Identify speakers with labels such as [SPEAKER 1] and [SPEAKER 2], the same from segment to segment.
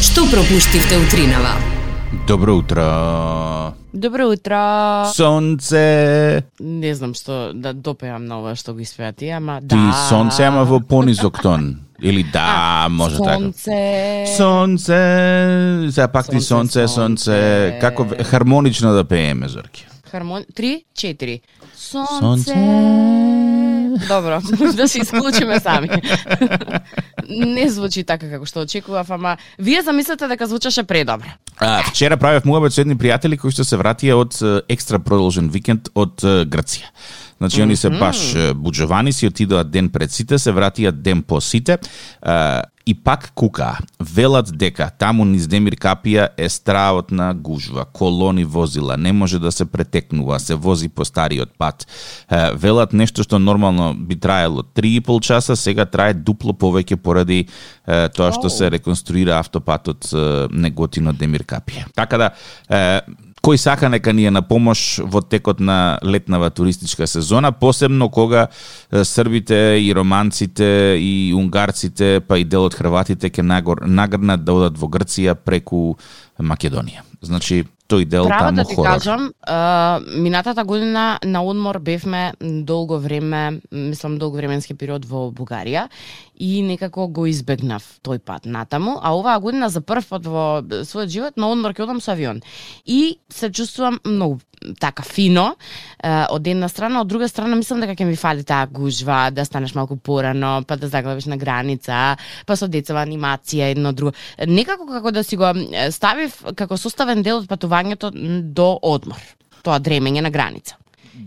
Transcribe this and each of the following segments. [SPEAKER 1] Што пропуштивте утринава?
[SPEAKER 2] Добро утро.
[SPEAKER 3] Добро утро.
[SPEAKER 2] Сонце.
[SPEAKER 3] Не знам што да допеам на ова што го испеа ти, ама да.
[SPEAKER 2] Ти сонце, ама во понизок тон. Или да, може така.
[SPEAKER 3] Сонце.
[SPEAKER 2] Сонце. Сега пак ти сонце,
[SPEAKER 3] Сонце,
[SPEAKER 2] сонце.
[SPEAKER 3] сонце.
[SPEAKER 2] Како ве- хармонично да пееме, Зорки.
[SPEAKER 3] Хармон... Три, четири. Сонце.
[SPEAKER 2] Сонце.
[SPEAKER 3] Добро, да се исклучиме сами. не звучи така како што очекував, ама вие замислете дека звучеше предобро.
[SPEAKER 2] А, вчера правев муабет со едни пријатели кои што се вратија од е, екстра продолжен викенд од е, Грција. Значи, они се баш е, буџовани, си отидоа ден пред сите, се вратија ден по сите а, и пак кукаа. Велат дека таму низ Демир Капија е страот на гужва, колони возила, не може да се претекнува, се вози по стариот пат. Е, Велат нешто што нормално би траело 3,5 часа, сега трае дупло повеќе поради е, тоа што се реконструира автопатот е, Неготино Демир Капија. Така да е, кој сака нека ни е на помош во текот на летнава туристичка сезона, посебно кога е, србите и романците и унгарците, па и дел од хрватите ќе нагор, нагрнат да одат во Грција преку Македонија. Значи, тој дел
[SPEAKER 3] Право
[SPEAKER 2] таму
[SPEAKER 3] да ти
[SPEAKER 2] хорор.
[SPEAKER 3] кажам, а, минатата година на одмор бевме долго време, мислам долго временски период во Бугарија и некако го избегнав тој пат натаму, а оваа година за прв пат во својот живот на одмор ќе одам со авион. И се чувствувам многу така фино е, од една страна, од друга страна мислам дека ќе ми фали таа гужва, да станеш малку порано, па да заглавиш на граница, па со децава анимација едно друго. Некако како да си го е, ставив како составен дел од патувањето м, до одмор, тоа дремење на граница.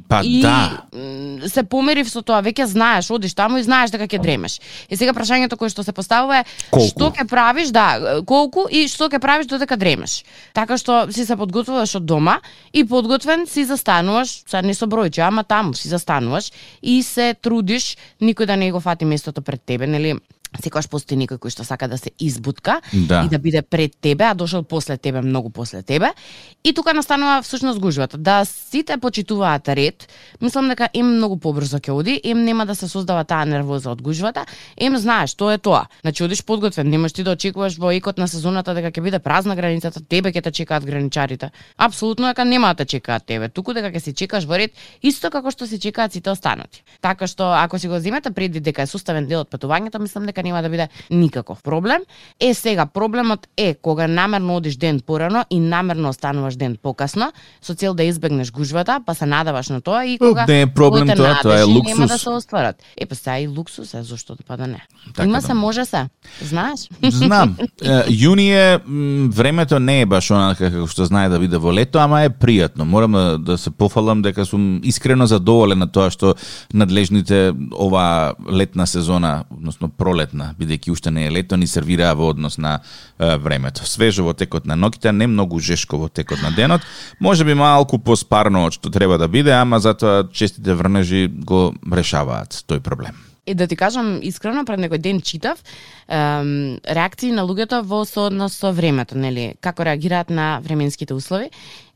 [SPEAKER 2] Па
[SPEAKER 3] И
[SPEAKER 2] да.
[SPEAKER 3] м, се померив со тоа, веќе знаеш, одиш таму и знаеш дека ќе дремеш. И сега прашањето кое што се поставува е
[SPEAKER 2] Колку?
[SPEAKER 3] што ќе правиш, да, колку и што ќе правиш додека дремеш. Така што си се подготвуваш од дома и подготвен си застануваш, сега не со бројче, ама таму си застануваш и се трудиш никој да не го фати местото пред тебе, нели? Секогаш постои некој кој што сака да се избутка
[SPEAKER 2] Да.
[SPEAKER 3] и да биде пред тебе, а дошол после тебе, многу после тебе. И тука настанува всушност гужвата. Да сите почитуваат ред, мислам дека им многу побрзо ќе оди, им нема да се создава таа нервоза од гужвата, им знаеш, тоа е тоа. Значи одиш подготвен, не можеш ти да очекуваш во екот на сезоната дека ќе биде празна границата, тебе ќе те чекаат граничарите. Апсолутно дека нема да те чекаат тебе, туку дека ќе се чекаш во ред, исто како што се чекаат сите останати. Така што ако си го земете преди дека е составен дел од патувањето, мислам дека нема да биде никаков проблем. Е сега проблемот е кога намерно одиш ден порано и намерно остануваш ден покасно со цел да избегнеш гужвата, па се надаваш на тоа и кога
[SPEAKER 2] Не е проблем
[SPEAKER 3] кога те
[SPEAKER 2] тоа, тоа е
[SPEAKER 3] надежи, Нема да
[SPEAKER 2] луксус.
[SPEAKER 3] се остварат. Е па сега и луксус е зошто да па да не.
[SPEAKER 2] Така
[SPEAKER 3] Има
[SPEAKER 2] да.
[SPEAKER 3] се може се, знаеш?
[SPEAKER 2] Знам. Е, Јуни е м, времето не е баш онака како што знае да биде во лето, ама е пријатно. Морам да, да се пофалам дека сум искрено задоволен на тоа што надлежните ова летна сезона, односно пролетна, бидејќи уште не е лето, ни сервираа во однос на е, времето. Свежо во текот на ноќта, не многу жешко во текот на денот. Може би малку поспарно од што треба да биде, ама затоа честите врнежи го решаваат тој проблем.
[SPEAKER 3] Е, да ти кажам искрено, пред некој ден читав ем, реакции на луѓето во сооднос со времето, нели, како реагираат на временските услови.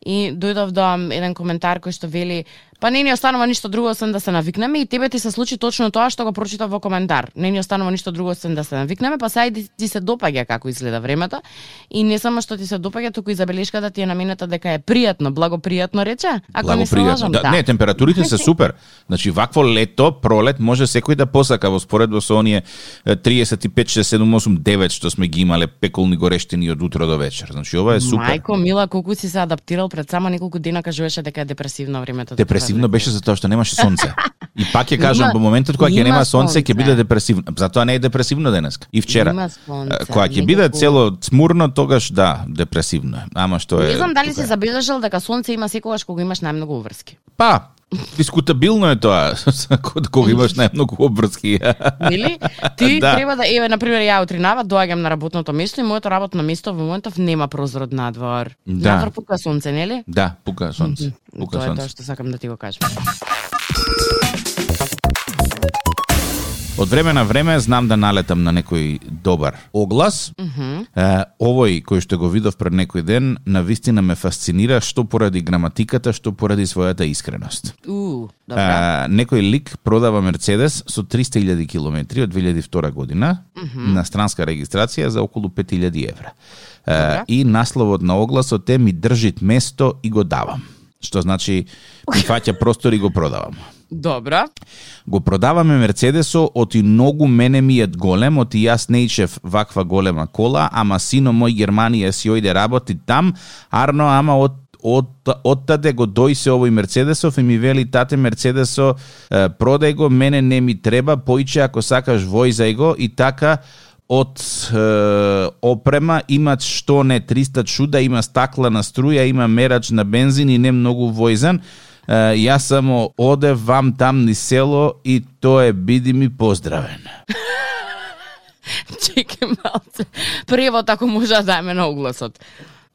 [SPEAKER 3] И дојдов до еден коментар кој што вели, па не ни останува ништо друго освен да се навикнеме и тебе ти се случи точно тоа што го прочитав во коментар. Не ни останува ништо друго освен да се навикнеме, па сега и ти- ти се допаѓа како изгледа времето и не само што ти се допаѓа, туку и забелешката ти е намената дека е пријатно, благопријатно рече, ако не се
[SPEAKER 2] Благопријатно.
[SPEAKER 3] лажам,
[SPEAKER 2] да, Не, температурите се супер. Значи, вакво лето, пролет, може секој да посака во споредба со оние е, 35, 6, 7, 8, 9 што сме ги имале пеколни горештини од утро до вечер. Значи, ова е супер.
[SPEAKER 3] Мајко, мила, колку си се адаптирал пред само неколку дена кажуваше дека е депресивно времето. за
[SPEAKER 2] Депресивно
[SPEAKER 3] прелет.
[SPEAKER 2] беше затоа што немаше сонце. И пак ќе кажам,
[SPEAKER 3] да
[SPEAKER 2] во
[SPEAKER 3] Има-
[SPEAKER 2] моментот кога ќе
[SPEAKER 3] има
[SPEAKER 2] нема сонце, ќе
[SPEAKER 3] сонце.
[SPEAKER 2] биде депресивно. Затоа не е депресивно денеска. И вчера.
[SPEAKER 3] Има сонце,
[SPEAKER 2] Е, Кога ќе
[SPEAKER 3] некако-
[SPEAKER 2] биде цело цмурно, тогаш да, депресивно е. Ама што е...
[SPEAKER 3] Не знам дали
[SPEAKER 2] тука
[SPEAKER 3] си
[SPEAKER 2] е.
[SPEAKER 3] забележал дека сонце има секогаш кога имаш најмногу обврски.
[SPEAKER 2] Па, дискутабилно е тоа. Кога кога имаш најмногу обврски.
[SPEAKER 3] Нели? Ти
[SPEAKER 2] Да.
[SPEAKER 3] треба да еве на пример ја утринава доаѓам на работното место и моето работно место во моментов нема прозор надвор.
[SPEAKER 2] Да.
[SPEAKER 3] Надвор пука сонце, нели?
[SPEAKER 2] Да, пука сонце. Пука
[SPEAKER 3] Тоа да е тоа
[SPEAKER 2] сонце.
[SPEAKER 3] што сакам да ти го кажам.
[SPEAKER 2] Од време на време знам да налетам на некој добар оглас. Mm-hmm. Е, овој кој што го видов пред некој ден, навистина ме фасцинира што поради граматиката, што поради својата искреност.
[SPEAKER 3] У,
[SPEAKER 2] А,
[SPEAKER 3] добра.
[SPEAKER 2] некој лик продава Мерцедес со 300.000 километри од 2002 година на странска регистрација за околу 5.000 евра. А, и насловот на огласот е ми држит место и го давам. Што значи ми фаќа простор и го продавам.
[SPEAKER 3] Добра.
[SPEAKER 2] Го продаваме Мерцедесо, оти многу мене ми е голем, оти јас не ичев ваква голема кола, ама сино мој Германија си ојде работи там, арно ама од од оттаде го дојсе овој Мерцедесов и ми вели тате Мерцедесо е, продај го, мене не ми треба, поиче ако сакаш војзај го и така од е, опрема имат што не 300 чуда, има стакла на струја, има мерач на бензин и не многу војзан. Е, Јас само одев вам там ни село и тоа е биди ми поздравен.
[SPEAKER 3] Чекај малце. Превод ако може да даме на огласот.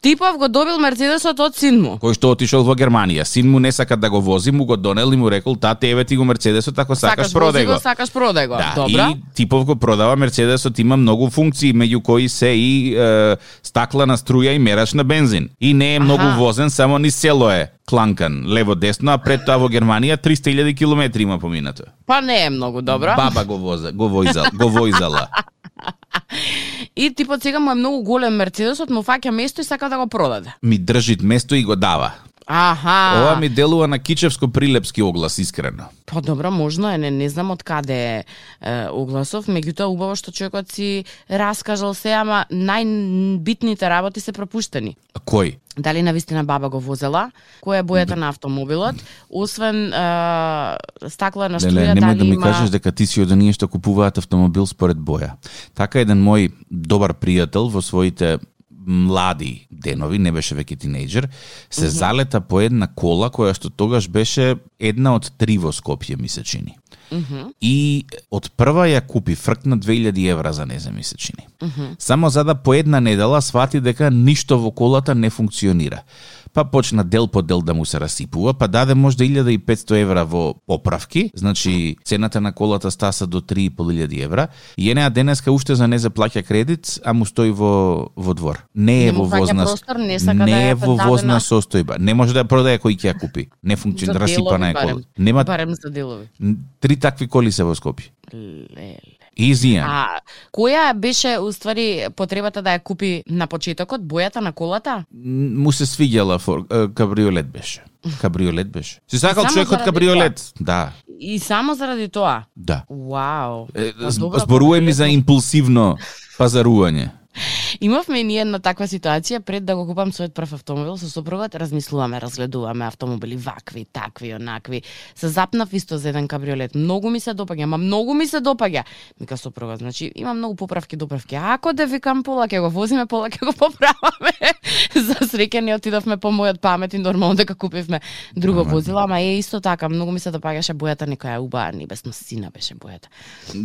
[SPEAKER 3] Типов го добил Мерцедесот од син му.
[SPEAKER 2] Кој што отишол во Германија, син му не сака да го вози, му го донел и му рекол тате еве ти го Мерцедесот ако сакаш,
[SPEAKER 3] вози
[SPEAKER 2] продај го.
[SPEAKER 3] Сакаш продај го.
[SPEAKER 2] Да,
[SPEAKER 3] Па, Добра.
[SPEAKER 2] и типов го продава Мерцедесот има многу функции меѓу кои се и е, стакла на струја и мерач на бензин. И не е многу
[SPEAKER 3] Аха.
[SPEAKER 2] возен, само ни село е кланкан лево десно, а пред тоа во Германија 300.000 километри има поминато.
[SPEAKER 3] Па не е многу добра.
[SPEAKER 2] Баба го воза, го војзала, го војзала.
[SPEAKER 3] И типот сега му е многу голем Мерцедесот, му фаќа место и сака да го продаде.
[SPEAKER 2] Ми држит место и го дава.
[SPEAKER 3] Аха.
[SPEAKER 2] Ова ми делува на кичевско прилепски оглас искрено.
[SPEAKER 3] Па добро, можно е, не, не знам од каде е, е огласов, меѓутоа убаво што човекот си раскажал се, ама најбитните работи се пропуштени.
[SPEAKER 2] А Кој?
[SPEAKER 3] Дали навистина баба го возела, која е бојата на автомобилот, освен е, стакла на
[SPEAKER 2] Леле,
[SPEAKER 3] струја,
[SPEAKER 2] немој
[SPEAKER 3] дали
[SPEAKER 2] да ми
[SPEAKER 3] има...
[SPEAKER 2] кажеш дека ти си од оние што купуваат автомобил според боја. Така еден мој добар пријател во своите млади денови, не беше веќе тинејџер, се залета по една кола која што тогаш беше една од три во Скопје ми се чини. И од прва ја купи фркна 2000 евра за незе ми се чини. Само за да по една недела свати дека ништо во колата не функционира. Па почна дел по дел да му се расипува, па даде можда 1500 евра во поправки, значи цената на колата стаса до 3500 евра, и енеа денеска уште за незе плаќа кредит, а му стои во во двор. Не е
[SPEAKER 3] Не
[SPEAKER 2] во
[SPEAKER 3] му фаќа
[SPEAKER 2] возна
[SPEAKER 3] простор, не сака да
[SPEAKER 2] не
[SPEAKER 3] ја
[SPEAKER 2] е во
[SPEAKER 3] предадена.
[SPEAKER 2] возна состојба. Не може да ја продаде кој ќе ја купи. Не
[SPEAKER 3] За
[SPEAKER 2] функционира,
[SPEAKER 3] делови
[SPEAKER 2] расипана е
[SPEAKER 3] барем.
[SPEAKER 2] кола. Нема
[SPEAKER 3] Барем за делови.
[SPEAKER 2] три такви коли се во Скопје.
[SPEAKER 3] Леле.
[SPEAKER 2] Изијан.
[SPEAKER 3] А која беше уствари потребата да ја купи на почетокот бојата на колата?
[SPEAKER 2] му се свиѓала фор, е, кабриолет беше. Кабриолет беше. Си сакал
[SPEAKER 3] Само
[SPEAKER 2] човекот
[SPEAKER 3] заради
[SPEAKER 2] кабриолет? Да,
[SPEAKER 3] И само заради тоа.
[SPEAKER 2] да.
[SPEAKER 3] Вау.
[SPEAKER 2] Е,
[SPEAKER 3] Па
[SPEAKER 2] з-
[SPEAKER 3] добро,
[SPEAKER 2] Зборуваме
[SPEAKER 3] па,
[SPEAKER 2] за импулсивно пазарување.
[SPEAKER 3] Имавме и ние една таква ситуација пред да го купам својот прв автомобил со сопругот, размислуваме, разгледуваме автомобили вакви, такви, онакви. Се запнав исто за еден кабриолет. Многу ми се допаѓа, ма многу ми се допаѓа. Мика сопругот, значи има многу поправки, доправки. Ако да викам пола ќе го возиме, пола ќе го поправаме. за среќа не отидовме по мојот памет и нормално дека купивме друго возило, ама е исто така, многу ми се допаѓаше бојата, некоја е убава, небесно сина беше бојата.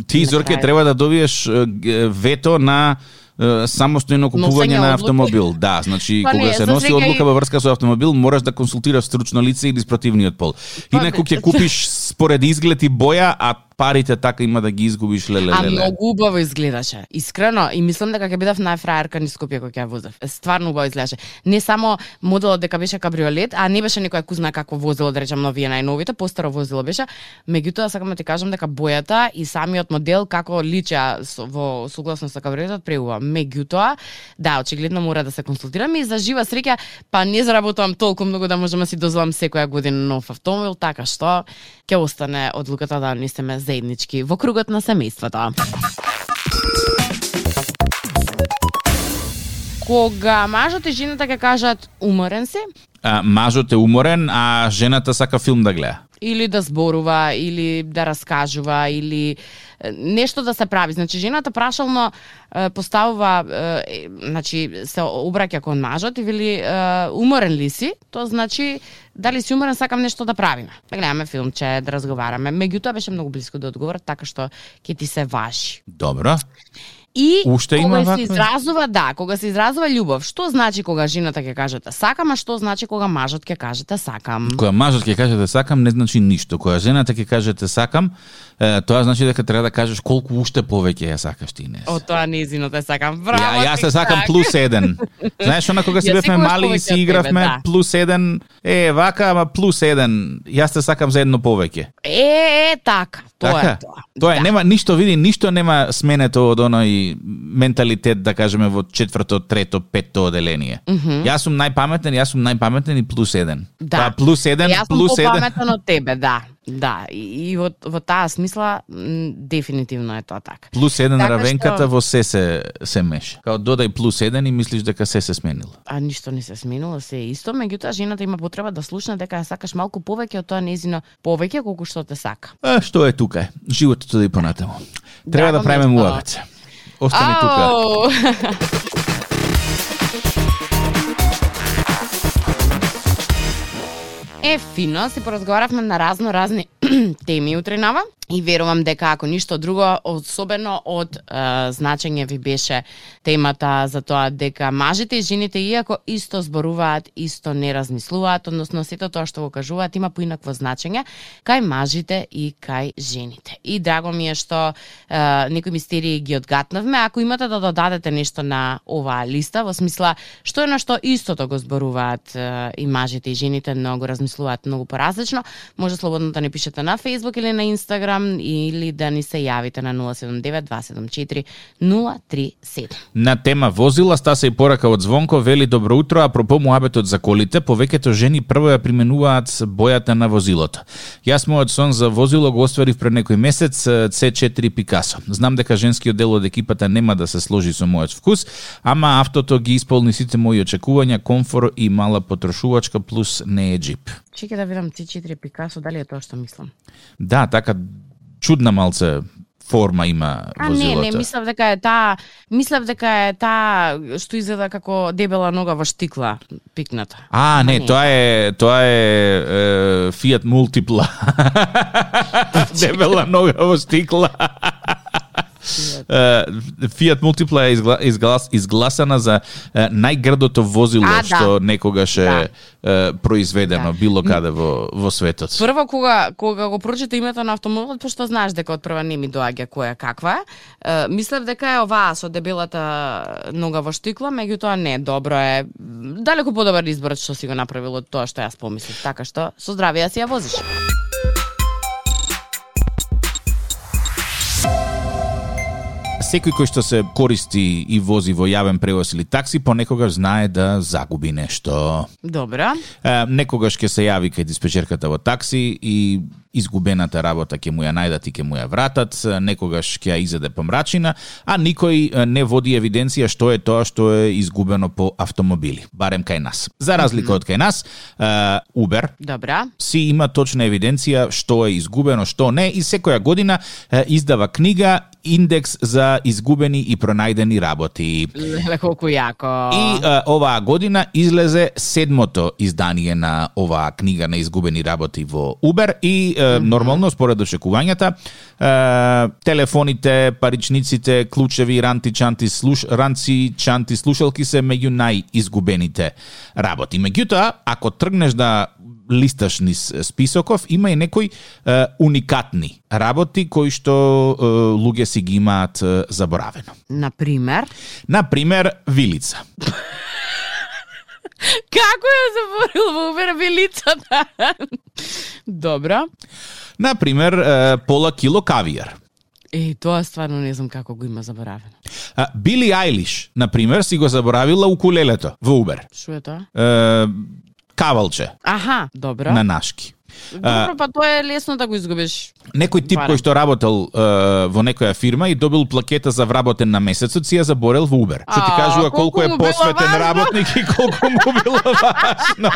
[SPEAKER 2] Ти,
[SPEAKER 3] На
[SPEAKER 2] Зорке,
[SPEAKER 3] крај.
[SPEAKER 2] треба да добиеш е, г- вето на е, самостојно купување
[SPEAKER 3] Носење
[SPEAKER 2] на
[SPEAKER 3] одлуки.
[SPEAKER 2] автомобил. Да, значи,
[SPEAKER 3] Па
[SPEAKER 2] кога
[SPEAKER 3] не,
[SPEAKER 2] се
[SPEAKER 3] за
[SPEAKER 2] носи
[SPEAKER 3] сега и-
[SPEAKER 2] одлука во врска со автомобил, мораш да консултираш стручно лице или спротивниот пол.
[SPEAKER 3] Па
[SPEAKER 2] Инаку
[SPEAKER 3] не.
[SPEAKER 2] ќе купиш според изглед и боја, а парите така има да ги изгубиш леле
[SPEAKER 3] А
[SPEAKER 2] леле.
[SPEAKER 3] многу убаво изгледаше. Искрено, и мислам дека ќе бидев најфраерка низ Скопје кој ќе ја возев. Стварно убаво изгледаше. Не само моделот дека беше кабриолет, а не беше некоја кузна какво возило, да речам, новие најновите, постаро возило беше. Меѓутоа, сакам да ти кажам дека бојата и самиот модел како лича со- во согласно со кабриолетот преуба. Меѓутоа, да, очигледно мора да се консултираме и за жива среќа, па не заработувам толку многу да можам да си дозволам секоја година нов автомобил, така што ќе остане одлуката да не сме заеднички во кругот на семејството. Кога мажот и жената ќе кажат уморен си,
[SPEAKER 2] А, мажот е уморен, а жената сака филм да гледа.
[SPEAKER 3] или да зборува, или да раскажува, или е, нешто да се прави. Значи, жената прашално е, поставува, е, е, значи, се обраќа кон мажот и вели, е, уморен ли си? Тоа значи, дали си уморен, сакам нешто да правиме. Да гледаме филмче, да разговараме. Меѓутоа беше многу близко до одговорот, така што ќе ти се важи.
[SPEAKER 2] Добро.
[SPEAKER 3] И
[SPEAKER 2] Уште има
[SPEAKER 3] кога се
[SPEAKER 2] вакви?
[SPEAKER 3] изразува, да, кога се изразува љубов, што значи кога жената ќе каже те сакам, а што значи кога мажот ќе каже те сакам?
[SPEAKER 2] Кога мажот ќе каже те сакам, не значи ништо. Кога жената ќе каже те сакам, е, тоа значи дека треба да кажеш колку уште повеќе ја сакаш ти не.
[SPEAKER 3] О, тоа низино те сакам. Браво,
[SPEAKER 2] Ја, јас се
[SPEAKER 3] тик-так.
[SPEAKER 2] сакам плюс еден. Знаеш, она кога си
[SPEAKER 3] така. Ја
[SPEAKER 2] бевме
[SPEAKER 3] секогаш
[SPEAKER 2] мали и
[SPEAKER 3] повеќе
[SPEAKER 2] си
[SPEAKER 3] од тебе,
[SPEAKER 2] игравме
[SPEAKER 3] да.
[SPEAKER 2] плюс еден, е, вака, ама плюс еден, јас те сакам за едно повеќе.
[SPEAKER 3] Е, е, така, тоа е
[SPEAKER 2] Така?
[SPEAKER 3] тоа.
[SPEAKER 2] Тоа е,
[SPEAKER 3] Да.
[SPEAKER 2] нема ништо, види, ништо нема сменето од оној менталитет, да кажеме, во четврто, трето, петто оделение. Јас сум најпаметен, јас сум најпаметен и плюс еден.
[SPEAKER 3] Да.
[SPEAKER 2] Па плюс еден,
[SPEAKER 3] Јас сум
[SPEAKER 2] плюс еден.
[SPEAKER 3] попаметен од тебе, да. Да, и, и во, во таа смисла м, дефинитивно е тоа така.
[SPEAKER 2] Плюс еден
[SPEAKER 3] Така што-
[SPEAKER 2] равенката во се се, се меша. Као додај плюс еден и мислиш дека се се сменило.
[SPEAKER 3] А ништо не се сменило, се е исто, меѓутоа жената има потреба да слушне дека ја сакаш малку повеќе од тоа незино повеќе колку што те сака.
[SPEAKER 2] А што е тука е? Животот тоди понатаму. Треба да,
[SPEAKER 3] Драго ми е
[SPEAKER 2] правиме
[SPEAKER 3] што-
[SPEAKER 2] муавец. Остани тука.
[SPEAKER 3] Ау! Е, фино, се поразговаравме на разно разни теми утринава и верувам дека ако ништо друго, особено од е, значење ви беше темата за тоа дека мажите и жените иако исто зборуваат, исто не размислуваат, односно сето тоа што го кажуваат има поинакво значење кај мажите и кај жените. И драго ми е што е, некои мистерии ги одгатнавме. Ако имате да додадете нешто на оваа листа, во смисла што е на што истото го зборуваат е, и мажите и жените, но го размислуваат многу поразлично, може слободно да не пишете на Facebook или на Instagram или да ни се јавите на 079 274 037.
[SPEAKER 2] На тема возила, Стаса и порака од Звонко, вели добро утро, а пропо муабетот за колите, повеќето жени прво ја применуваат бојата на возилото. Јас мојот сон за возило го остварив пред некој месец е, C4 Пикасо. Знам дека женскиот дел од екипата нема да се сложи со мојот вкус, ама автото ги исполни сите мои очекувања, комфор и мала потрошувачка плюс не е джип.
[SPEAKER 3] Чеки да видам ти 4 Пикасо, дали е тоа што мислам?
[SPEAKER 2] Да, така чудна малце форма има
[SPEAKER 3] А не,
[SPEAKER 2] возилото.
[SPEAKER 3] не, мислам дека е таа, мислам дека е таа што изгледа како дебела нога во штикла пикната.
[SPEAKER 2] А, не,
[SPEAKER 3] Па не.
[SPEAKER 2] тоа е тоа е, е Fiat Multipla. Дебела нога во стикла. Е, Fiat Multipla е изгла, изглас, изгласана за е, најгрдото возило
[SPEAKER 3] А, да.
[SPEAKER 2] што некогаш е,
[SPEAKER 3] Да.
[SPEAKER 2] е произведено било каде во во светот.
[SPEAKER 3] Прво кога кога го прочита името на автомобилот, пошто знаеш дека од прва не ми доаѓа која каква е, е, мислев дека е оваа со дебелата нога во штикла, меѓутоа не, добро е. Далеку подобар избор што си го направил од тоа што јас помислив, така што со здравје да си ја возиш.
[SPEAKER 2] Секој кој што се користи и вози во јавен превоз или такси понекогаш знае да загуби нешто.
[SPEAKER 3] Добро.
[SPEAKER 2] Е, некогаш ќе се јави кај диспечерката во такси и изгубената работа ќе му ја најдат и ќе му ја вратат, е, некогаш ќе ја изеде помрачина, а никој е, не води евиденција што е тоа што е изгубено по автомобили, барем кај нас. За разлика од кај нас, е, Uber
[SPEAKER 3] Добра.
[SPEAKER 2] си има точна евиденција што е изгубено, што не и секоја година е, издава книга индекс за изгубени и пронајдени работи.
[SPEAKER 3] Леле колку јако.
[SPEAKER 2] И а, оваа година излезе седмото издание на оваа книга на изгубени работи во Uber и а, нормално според очекувањата а, телефоните, паричниците, клучеви, ранти, чанти, слуш, ранци, чанти, слушалки се меѓу најизгубените работи. Меѓутоа, ако тргнеш да листаш низ списоков, има и некои е, уникатни работи кои што е, луѓе си ги имаат е, заборавено.
[SPEAKER 3] на пример,
[SPEAKER 2] Например, вилица.
[SPEAKER 3] како ја заборил во Убер билицата? Добро.
[SPEAKER 2] На пример, е, пола кило кавијар.
[SPEAKER 3] Е, тоа стварно не знам како го има заборавено.
[SPEAKER 2] А, Били Айлиш, на пример, си го заборавила укулелето во Убер.
[SPEAKER 3] Што е тоа?
[SPEAKER 2] Е, кавалче
[SPEAKER 3] Аха, добро.
[SPEAKER 2] на нашки.
[SPEAKER 3] Добро, па тоа е лесно да го изгубиш.
[SPEAKER 2] Некој тип
[SPEAKER 3] Барем.
[SPEAKER 2] кој што работел е, во некоја фирма и добил плакета за вработен на месецот, си ја заборел во Убер. Што ти
[SPEAKER 3] А,
[SPEAKER 2] кажува
[SPEAKER 3] колку
[SPEAKER 2] колку е
[SPEAKER 3] му било
[SPEAKER 2] посветен
[SPEAKER 3] важно.
[SPEAKER 2] работник и колку му било важно.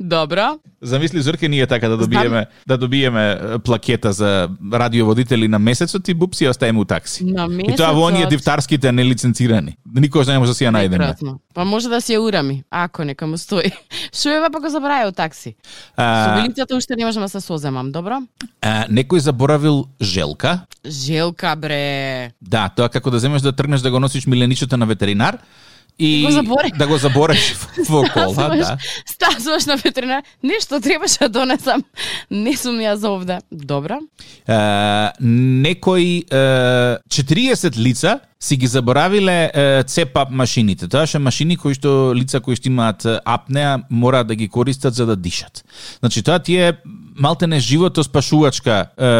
[SPEAKER 3] Добро.
[SPEAKER 2] Замисли Зорке ние така да добиеме да добиеме е, плакета за радиоводители на месецот и буп си ја оставиме у такси.
[SPEAKER 3] На
[SPEAKER 2] И тоа во оние
[SPEAKER 3] месецот.
[SPEAKER 2] дивтарските нелиценцирани. Никош не може да си ја најдеме.
[SPEAKER 3] Прекрасно. Па може да си ја урами, ако нека му стои. Што е па го забравил такси. Со
[SPEAKER 2] А,
[SPEAKER 3] вилицата уште не можам да се соземам, добро?
[SPEAKER 2] а, некој заборавил желка.
[SPEAKER 3] Желка бре.
[SPEAKER 2] Да, тоа како да земеш да тргнеш да го носиш миленичето на ветеринар и
[SPEAKER 3] Да го заборе.
[SPEAKER 2] да го забореш во кола,
[SPEAKER 3] Ставаш-
[SPEAKER 2] да.
[SPEAKER 3] Ставаш на ветеринар. Нешто требаше да донесам. Не сум ја за овде. Добро.
[SPEAKER 2] Е, некој е, 40 лица си ги заборавиле е, цепап машините. Тоа ше машини кои што лица кои што имаат е, апнеа мора да ги користат за да дишат. Значи тоа ти е малте не животоспасувачка е,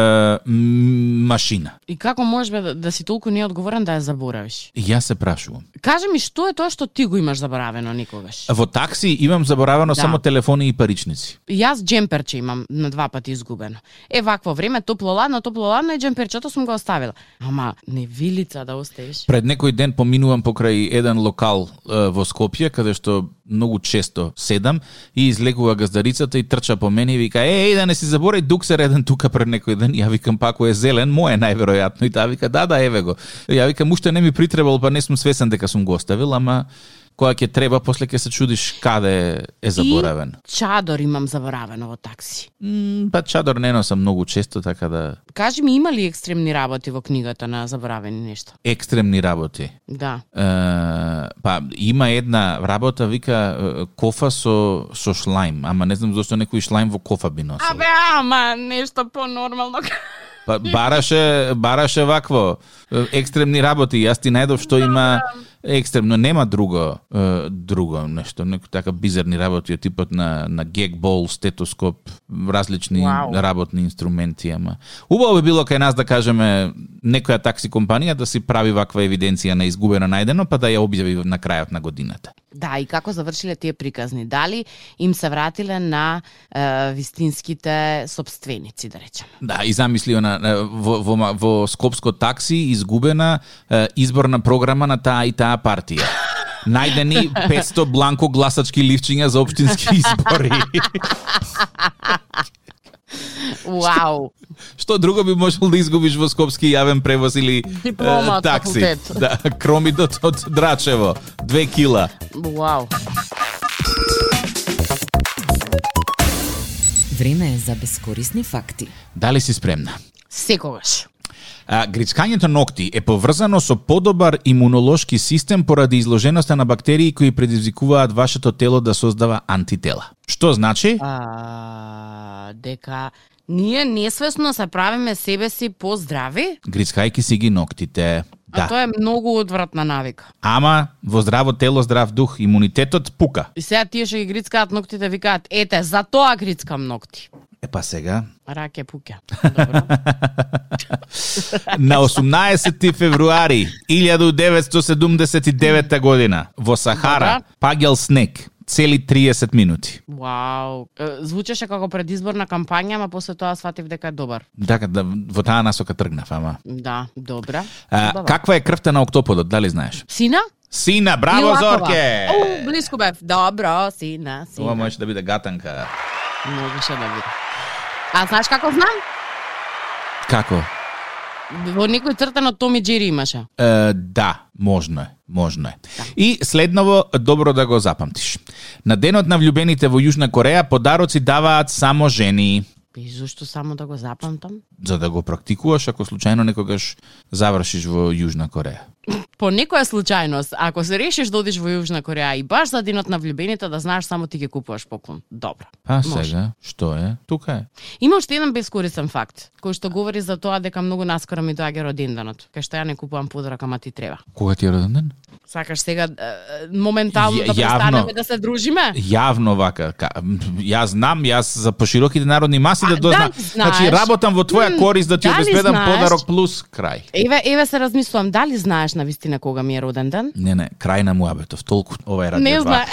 [SPEAKER 2] м, машина.
[SPEAKER 3] И како можеме да, да си толку неодговорен да ја заборавиш?
[SPEAKER 2] И Јас се прашувам.
[SPEAKER 3] Кажи ми што е тоа што ти го имаш заборавено никогаш?
[SPEAKER 2] Во такси имам заборавено
[SPEAKER 3] Да.
[SPEAKER 2] да. само телефони и паричници.
[SPEAKER 3] Јас джемперче имам на два пати изгубено. Е вакво време, топло ладно, топло ладно и джемперчето сум го оставила. Ама не вилица да оставиш.
[SPEAKER 2] Пред некој ден поминувам покрај еден локал е, во Скопје, каде што многу често седам и излегува газдарицата и трча по мене и вика е, еј да не си заборај дуксер еден тука пред некој ден. Ја викам пако е зелен, мое најверојатно и таа вика да, да, еве го. Ја викам уште не ми притребал, па не сум свесен дека сум го оставил, ама кога ќе треба, после ќе се чудиш каде е заборавен.
[SPEAKER 3] И чадор имам заборавено во такси.
[SPEAKER 2] М, па чадор не носам многу често, така да
[SPEAKER 3] Кажи ми, има ли екстремни работи во книгата на заборавени нешта?
[SPEAKER 2] екстремни работи.
[SPEAKER 3] Да.
[SPEAKER 2] Е, па има една работа вика е, кофа со со шлајм, ама не знам зошто некој шлајм во кофа би носил.
[SPEAKER 3] Абе, ама, нешто по-нормално.
[SPEAKER 2] Па бараше бараше вакво е, екстремни работи, јас ти најдов што има екстремно, нема друго е, друго нешто, некои така бизарни работи од типот на на гек бол, стетоскоп, различни
[SPEAKER 3] Вау.
[SPEAKER 2] работни инструменти, ама убаво би било кај нас да кажеме некоја такси компанија да си прави ваква евиденција на изгубено најдено, па да ја објави на крајот на годината.
[SPEAKER 3] Да, и како завршиле тие приказни? Дали им се вратиле на е, вистинските собственици, да речем?
[SPEAKER 2] Да, и замисли она е, во, во, ма- во скопско такси изгубена е, изборна програма на таа и таа партија. Најдени 500 бланко гласачки лифчиња за општински избори.
[SPEAKER 3] Вау!
[SPEAKER 2] Што друго би можел да изгубиш во скопски јавен превоз или е,
[SPEAKER 3] Диплома од
[SPEAKER 2] такси?
[SPEAKER 3] факултет.
[SPEAKER 2] Да, кромидот од Драчево, 2 кила.
[SPEAKER 3] Вау!
[SPEAKER 1] Време е за безкорисни факти.
[SPEAKER 2] Дали си спремна?
[SPEAKER 3] Секогаш.
[SPEAKER 2] А, гричкањето ногти е поврзано со подобар имунолошки систем поради изложеноста на бактерии кои предизвикуваат вашето тело да создава антитела. Што значи?
[SPEAKER 3] А, дека ние несвесно се правиме себе си поздрави,
[SPEAKER 2] Грицкајки си ги ноктите.
[SPEAKER 3] а
[SPEAKER 2] Да.
[SPEAKER 3] тоа е многу одвратна навика.
[SPEAKER 2] Ама, во здраво тело, здрав дух, имунитетот пука.
[SPEAKER 3] И сега тие што ги грицкаат ноктите викаат, ете, за тоа грицкам ногти.
[SPEAKER 2] Е па сега.
[SPEAKER 3] Раке пуке. Добро.
[SPEAKER 2] На 18 февруари 1979 година во Сахара
[SPEAKER 3] Добра.
[SPEAKER 2] пагел снег цели 30 минути.
[SPEAKER 3] Вау. Е, Звучеше како предизборна кампања, ама после тоа сфатив дека е добар.
[SPEAKER 2] Така да во таа насока тргнав, ама.
[SPEAKER 3] Да, добра.
[SPEAKER 2] А,
[SPEAKER 3] Добава.
[SPEAKER 2] каква е крвта на октоподот, дали знаеш?
[SPEAKER 3] Сина?
[SPEAKER 2] Сина,
[SPEAKER 3] И
[SPEAKER 2] браво
[SPEAKER 3] лакова.
[SPEAKER 2] Зорке.
[SPEAKER 3] О, блиску бев. Добро, сина,
[SPEAKER 2] Ова
[SPEAKER 3] сина.
[SPEAKER 2] може да биде гатанка.
[SPEAKER 3] Можеше да биде. А знаеш како знам?
[SPEAKER 2] Како?
[SPEAKER 3] Во некој цртано Томи Джери имаше.
[SPEAKER 2] Е, да, можно е, можно е.
[SPEAKER 3] Да.
[SPEAKER 2] И следново, добро да го запамтиш. На денот на влюбените во Јужна Кореја подароци даваат само жени.
[SPEAKER 3] И зошто само да го запамтам?
[SPEAKER 2] За да го практикуваш, ако случајно некогаш завршиш во Јужна Кореја.
[SPEAKER 3] По некоја случајност, ако се решиш да одиш во Јужна Кореја и баш за денот на влюбените да знаеш само ти ги купуваш поклон. Добро.
[SPEAKER 2] Па
[SPEAKER 3] Може.
[SPEAKER 2] сега, што е? Тука е.
[SPEAKER 3] Има уште еден бескорисен факт, кој што говори за тоа дека многу наскоро ми доаѓа роденданот, кај што ја не купувам подарок, ама ти треба.
[SPEAKER 2] Кога ти е роден ден?
[SPEAKER 3] Сакаш сега е, е, моментално
[SPEAKER 2] Ја-
[SPEAKER 3] да
[SPEAKER 2] јавно.
[SPEAKER 3] престанеме да се дружиме?
[SPEAKER 2] Јавно вака, ка, м, јас знам, јас за пошироките народни маси
[SPEAKER 3] А,
[SPEAKER 2] да дознам.
[SPEAKER 3] дали знаеш?
[SPEAKER 2] Значи, работам во твоја
[SPEAKER 3] М,
[SPEAKER 2] корист да ти
[SPEAKER 3] дали
[SPEAKER 2] обезбедам
[SPEAKER 3] знаеш?
[SPEAKER 2] подарок плюс крај.
[SPEAKER 3] Еве, еве се размислувам, дали знаеш на вистина кога ми е роден ден?
[SPEAKER 2] Не, не, крај на муабетов, толку ова е радио
[SPEAKER 3] Не
[SPEAKER 2] два.
[SPEAKER 3] знае.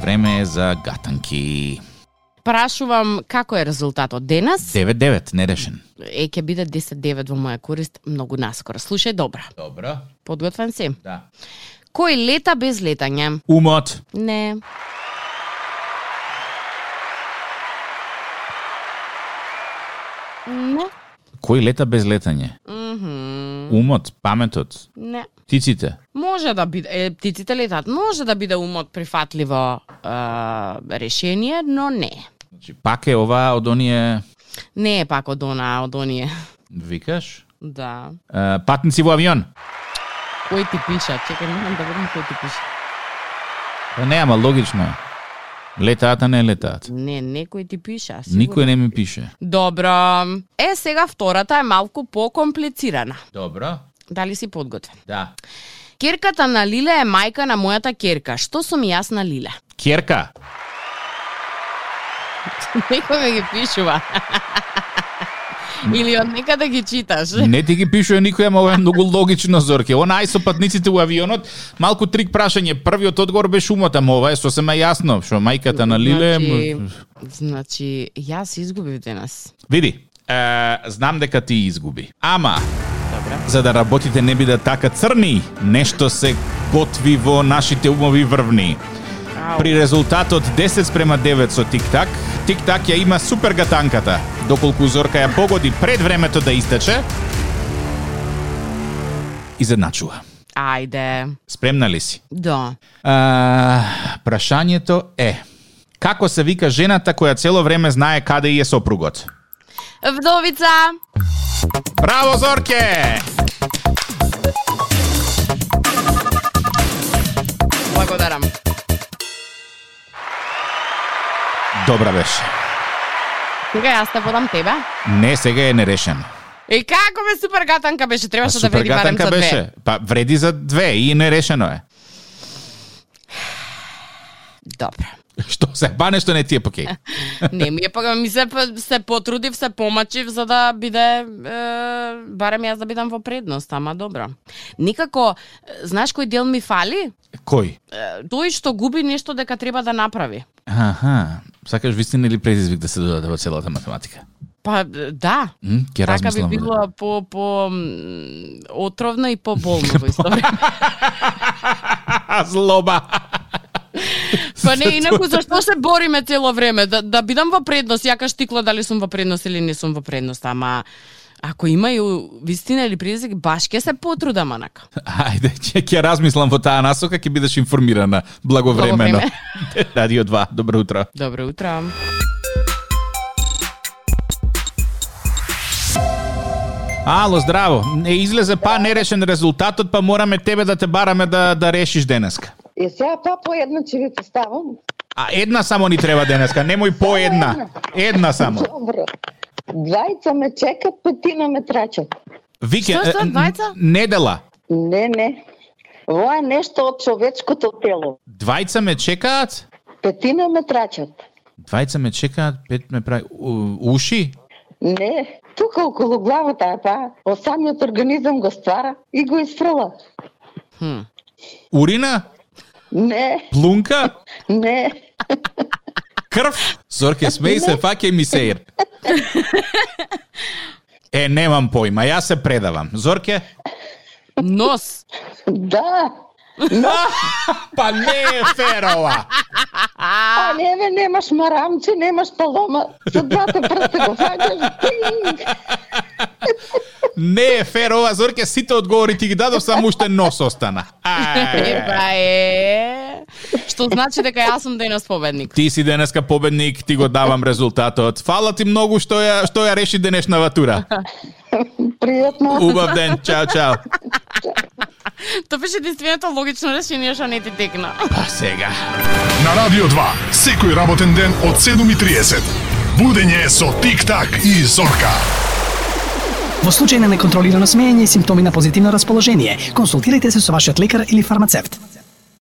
[SPEAKER 2] Време е за гатанки.
[SPEAKER 3] Прашувам како е резултатот денес?
[SPEAKER 2] 9-9, нерешен.
[SPEAKER 3] Е, ќе биде 10-9 во моја корист, многу наскоро. Слушај, добра.
[SPEAKER 2] Добро,
[SPEAKER 3] Подготвен си?
[SPEAKER 2] да.
[SPEAKER 3] Кој лета без летање?
[SPEAKER 2] Умот.
[SPEAKER 3] Не. Не.
[SPEAKER 2] Кој лета без летање?
[SPEAKER 3] Мгм.
[SPEAKER 2] Умот, паметот,
[SPEAKER 3] Не.
[SPEAKER 2] птиците.
[SPEAKER 3] Може да биде, е, птиците летат, може да биде умот прифатливо е, решение, но не.
[SPEAKER 2] Значи, пак е ова од оние...
[SPEAKER 3] Не е пак од она, од оние.
[SPEAKER 2] Викаш?
[SPEAKER 3] Да.
[SPEAKER 2] Е, патници во авион.
[SPEAKER 3] Кој ти пиша? Чекај, немам да видам кој ти пиша.
[SPEAKER 2] Па не, ама логично е. Летаат, а не летаат.
[SPEAKER 3] Не, некој ти пиша. сигурно.
[SPEAKER 2] Никој не ми пише.
[SPEAKER 3] Добро. Е, сега втората е малку покомплицирана.
[SPEAKER 2] Добро.
[SPEAKER 3] Дали си подготвен?
[SPEAKER 2] Да.
[SPEAKER 3] Керката на Лиле е мајка на мојата керка. Што сум јас на Лиле?
[SPEAKER 2] Керка.
[SPEAKER 3] Некој ме ги пишува. Или од некаде ги читаш.
[SPEAKER 2] Не ти ги пишува никој, ама ова е многу логично, Зорке. Она ај со патниците у авионот, малку трик прашање. Првиот одговор беше умот, ама ова е сосема јасно, што мајката на Лиле...
[SPEAKER 3] Значи, значи јас изгубив денес.
[SPEAKER 2] Види, е, знам дека ти изгуби. Ама,
[SPEAKER 3] Добра.
[SPEAKER 2] за да работите не бидат така црни, нешто се готви во нашите умови врвни.
[SPEAKER 3] Ау.
[SPEAKER 2] При резултатот 10 спрема 9 со Тик-так, Тик-так ја има супергатанката. Доколку Зорка ја погоди пред времето да истече, изедначува.
[SPEAKER 3] Ајде.
[SPEAKER 2] Спремна ли си?
[SPEAKER 3] Да.
[SPEAKER 2] А, прашањето е, како се вика жената која цело време знае каде е сопругот?
[SPEAKER 3] Вдовица.
[SPEAKER 2] Браво, Зорке!
[SPEAKER 3] Благодарам.
[SPEAKER 2] Добра беше.
[SPEAKER 3] Сега јас те подам тебе.
[SPEAKER 2] Не, сега е нерешено.
[SPEAKER 3] И како ме супергатанка беше,
[SPEAKER 2] Па
[SPEAKER 3] требаше да вреди барем
[SPEAKER 2] супергатанка
[SPEAKER 3] за две.
[SPEAKER 2] беше. Па вреди за две и нерешено е.
[SPEAKER 3] Добро.
[SPEAKER 2] Што се ба нешто не ти е покей.
[SPEAKER 3] Не ми е па ми се се потрудив, се помачив за да биде е, барем јас да бидам во предност, ама добро. Никако, е, знаеш кој дел ми фали?
[SPEAKER 2] Кој?
[SPEAKER 3] Е, Тој што губи нешто дека треба да направи.
[SPEAKER 2] Аха, сакаш вистина или предизвик да се додаде во целата математика?
[SPEAKER 3] Па е, да.
[SPEAKER 2] М, Ќе
[SPEAKER 3] Така би
[SPEAKER 2] размислам.
[SPEAKER 3] било по по м, отровно и по болно во исто време.
[SPEAKER 2] А, злоба.
[SPEAKER 3] Па не, инаку зашто се бориме цело време да да бидам во предност, јакаш тикла дали сум во предност или не сум во предност, ама ако има и вистина или предизвик, баш ќе се потрудам онака.
[SPEAKER 2] Ајде, ќе ќе размислам во таа насока, ќе бидеш информирана благовремено. Радио 2, добро утро.
[SPEAKER 3] Добро утро.
[SPEAKER 2] Ало, здраво. Не излезе па нерешен резултатот, па мораме тебе да те бараме да да решиш денеска.
[SPEAKER 4] Е, сега па по една чевица ставам.
[SPEAKER 2] А една само ни треба денеска, немој по една. Една само.
[SPEAKER 4] Добро. Двајца ме чекат, петина ме трачат.
[SPEAKER 2] Викенд.
[SPEAKER 3] Што, што,
[SPEAKER 2] е, н-
[SPEAKER 3] двајца?
[SPEAKER 2] Недела.
[SPEAKER 4] Не, не. Ова е нешто од човечкото тело.
[SPEAKER 2] Двајца ме чекаат?
[SPEAKER 4] Петина ме трачат.
[SPEAKER 2] Двајца ме чекаат, пет ме прави... У- Уши?
[SPEAKER 4] Не, тука околу главата е па, осамниот организам го ствара и го изфрла.
[SPEAKER 3] Хм.
[SPEAKER 2] Урина?
[SPEAKER 4] Не,
[SPEAKER 2] Плунка?
[SPEAKER 4] не.
[SPEAKER 2] Крв? Зорке, смеј се, факе ми сеир. Е, немам појма, јас се предавам. Зорке?
[SPEAKER 3] Нос.
[SPEAKER 4] Да.
[SPEAKER 2] Па не е ферова!
[SPEAKER 4] А, не, бе, немаш марамче, немаш палома. Со двата прста го фаќаш. Тинг!
[SPEAKER 2] Не е ферова, Зорке, сите одговори ти ги дадов, само уште нос остана. Ај.
[SPEAKER 3] Еба е. Што значи дека јас сум денес победник.
[SPEAKER 2] Ти си денеска победник, ти го давам резултатот. Фала ти многу што ја, што ја реши денешнава тура.
[SPEAKER 4] Пријатно.
[SPEAKER 2] Убав ден, чао, чао.
[SPEAKER 3] Тоа беше единственото логично решение што не ти текна.
[SPEAKER 2] Па сега.
[SPEAKER 5] на Радио 2, секој работен ден од 7.30. Будење со Тик-так и Зорка.
[SPEAKER 6] Во случај на неконтролирано смеење и симптоми на позитивно расположение, консултирайте се со вашиот лекар или фармацевт.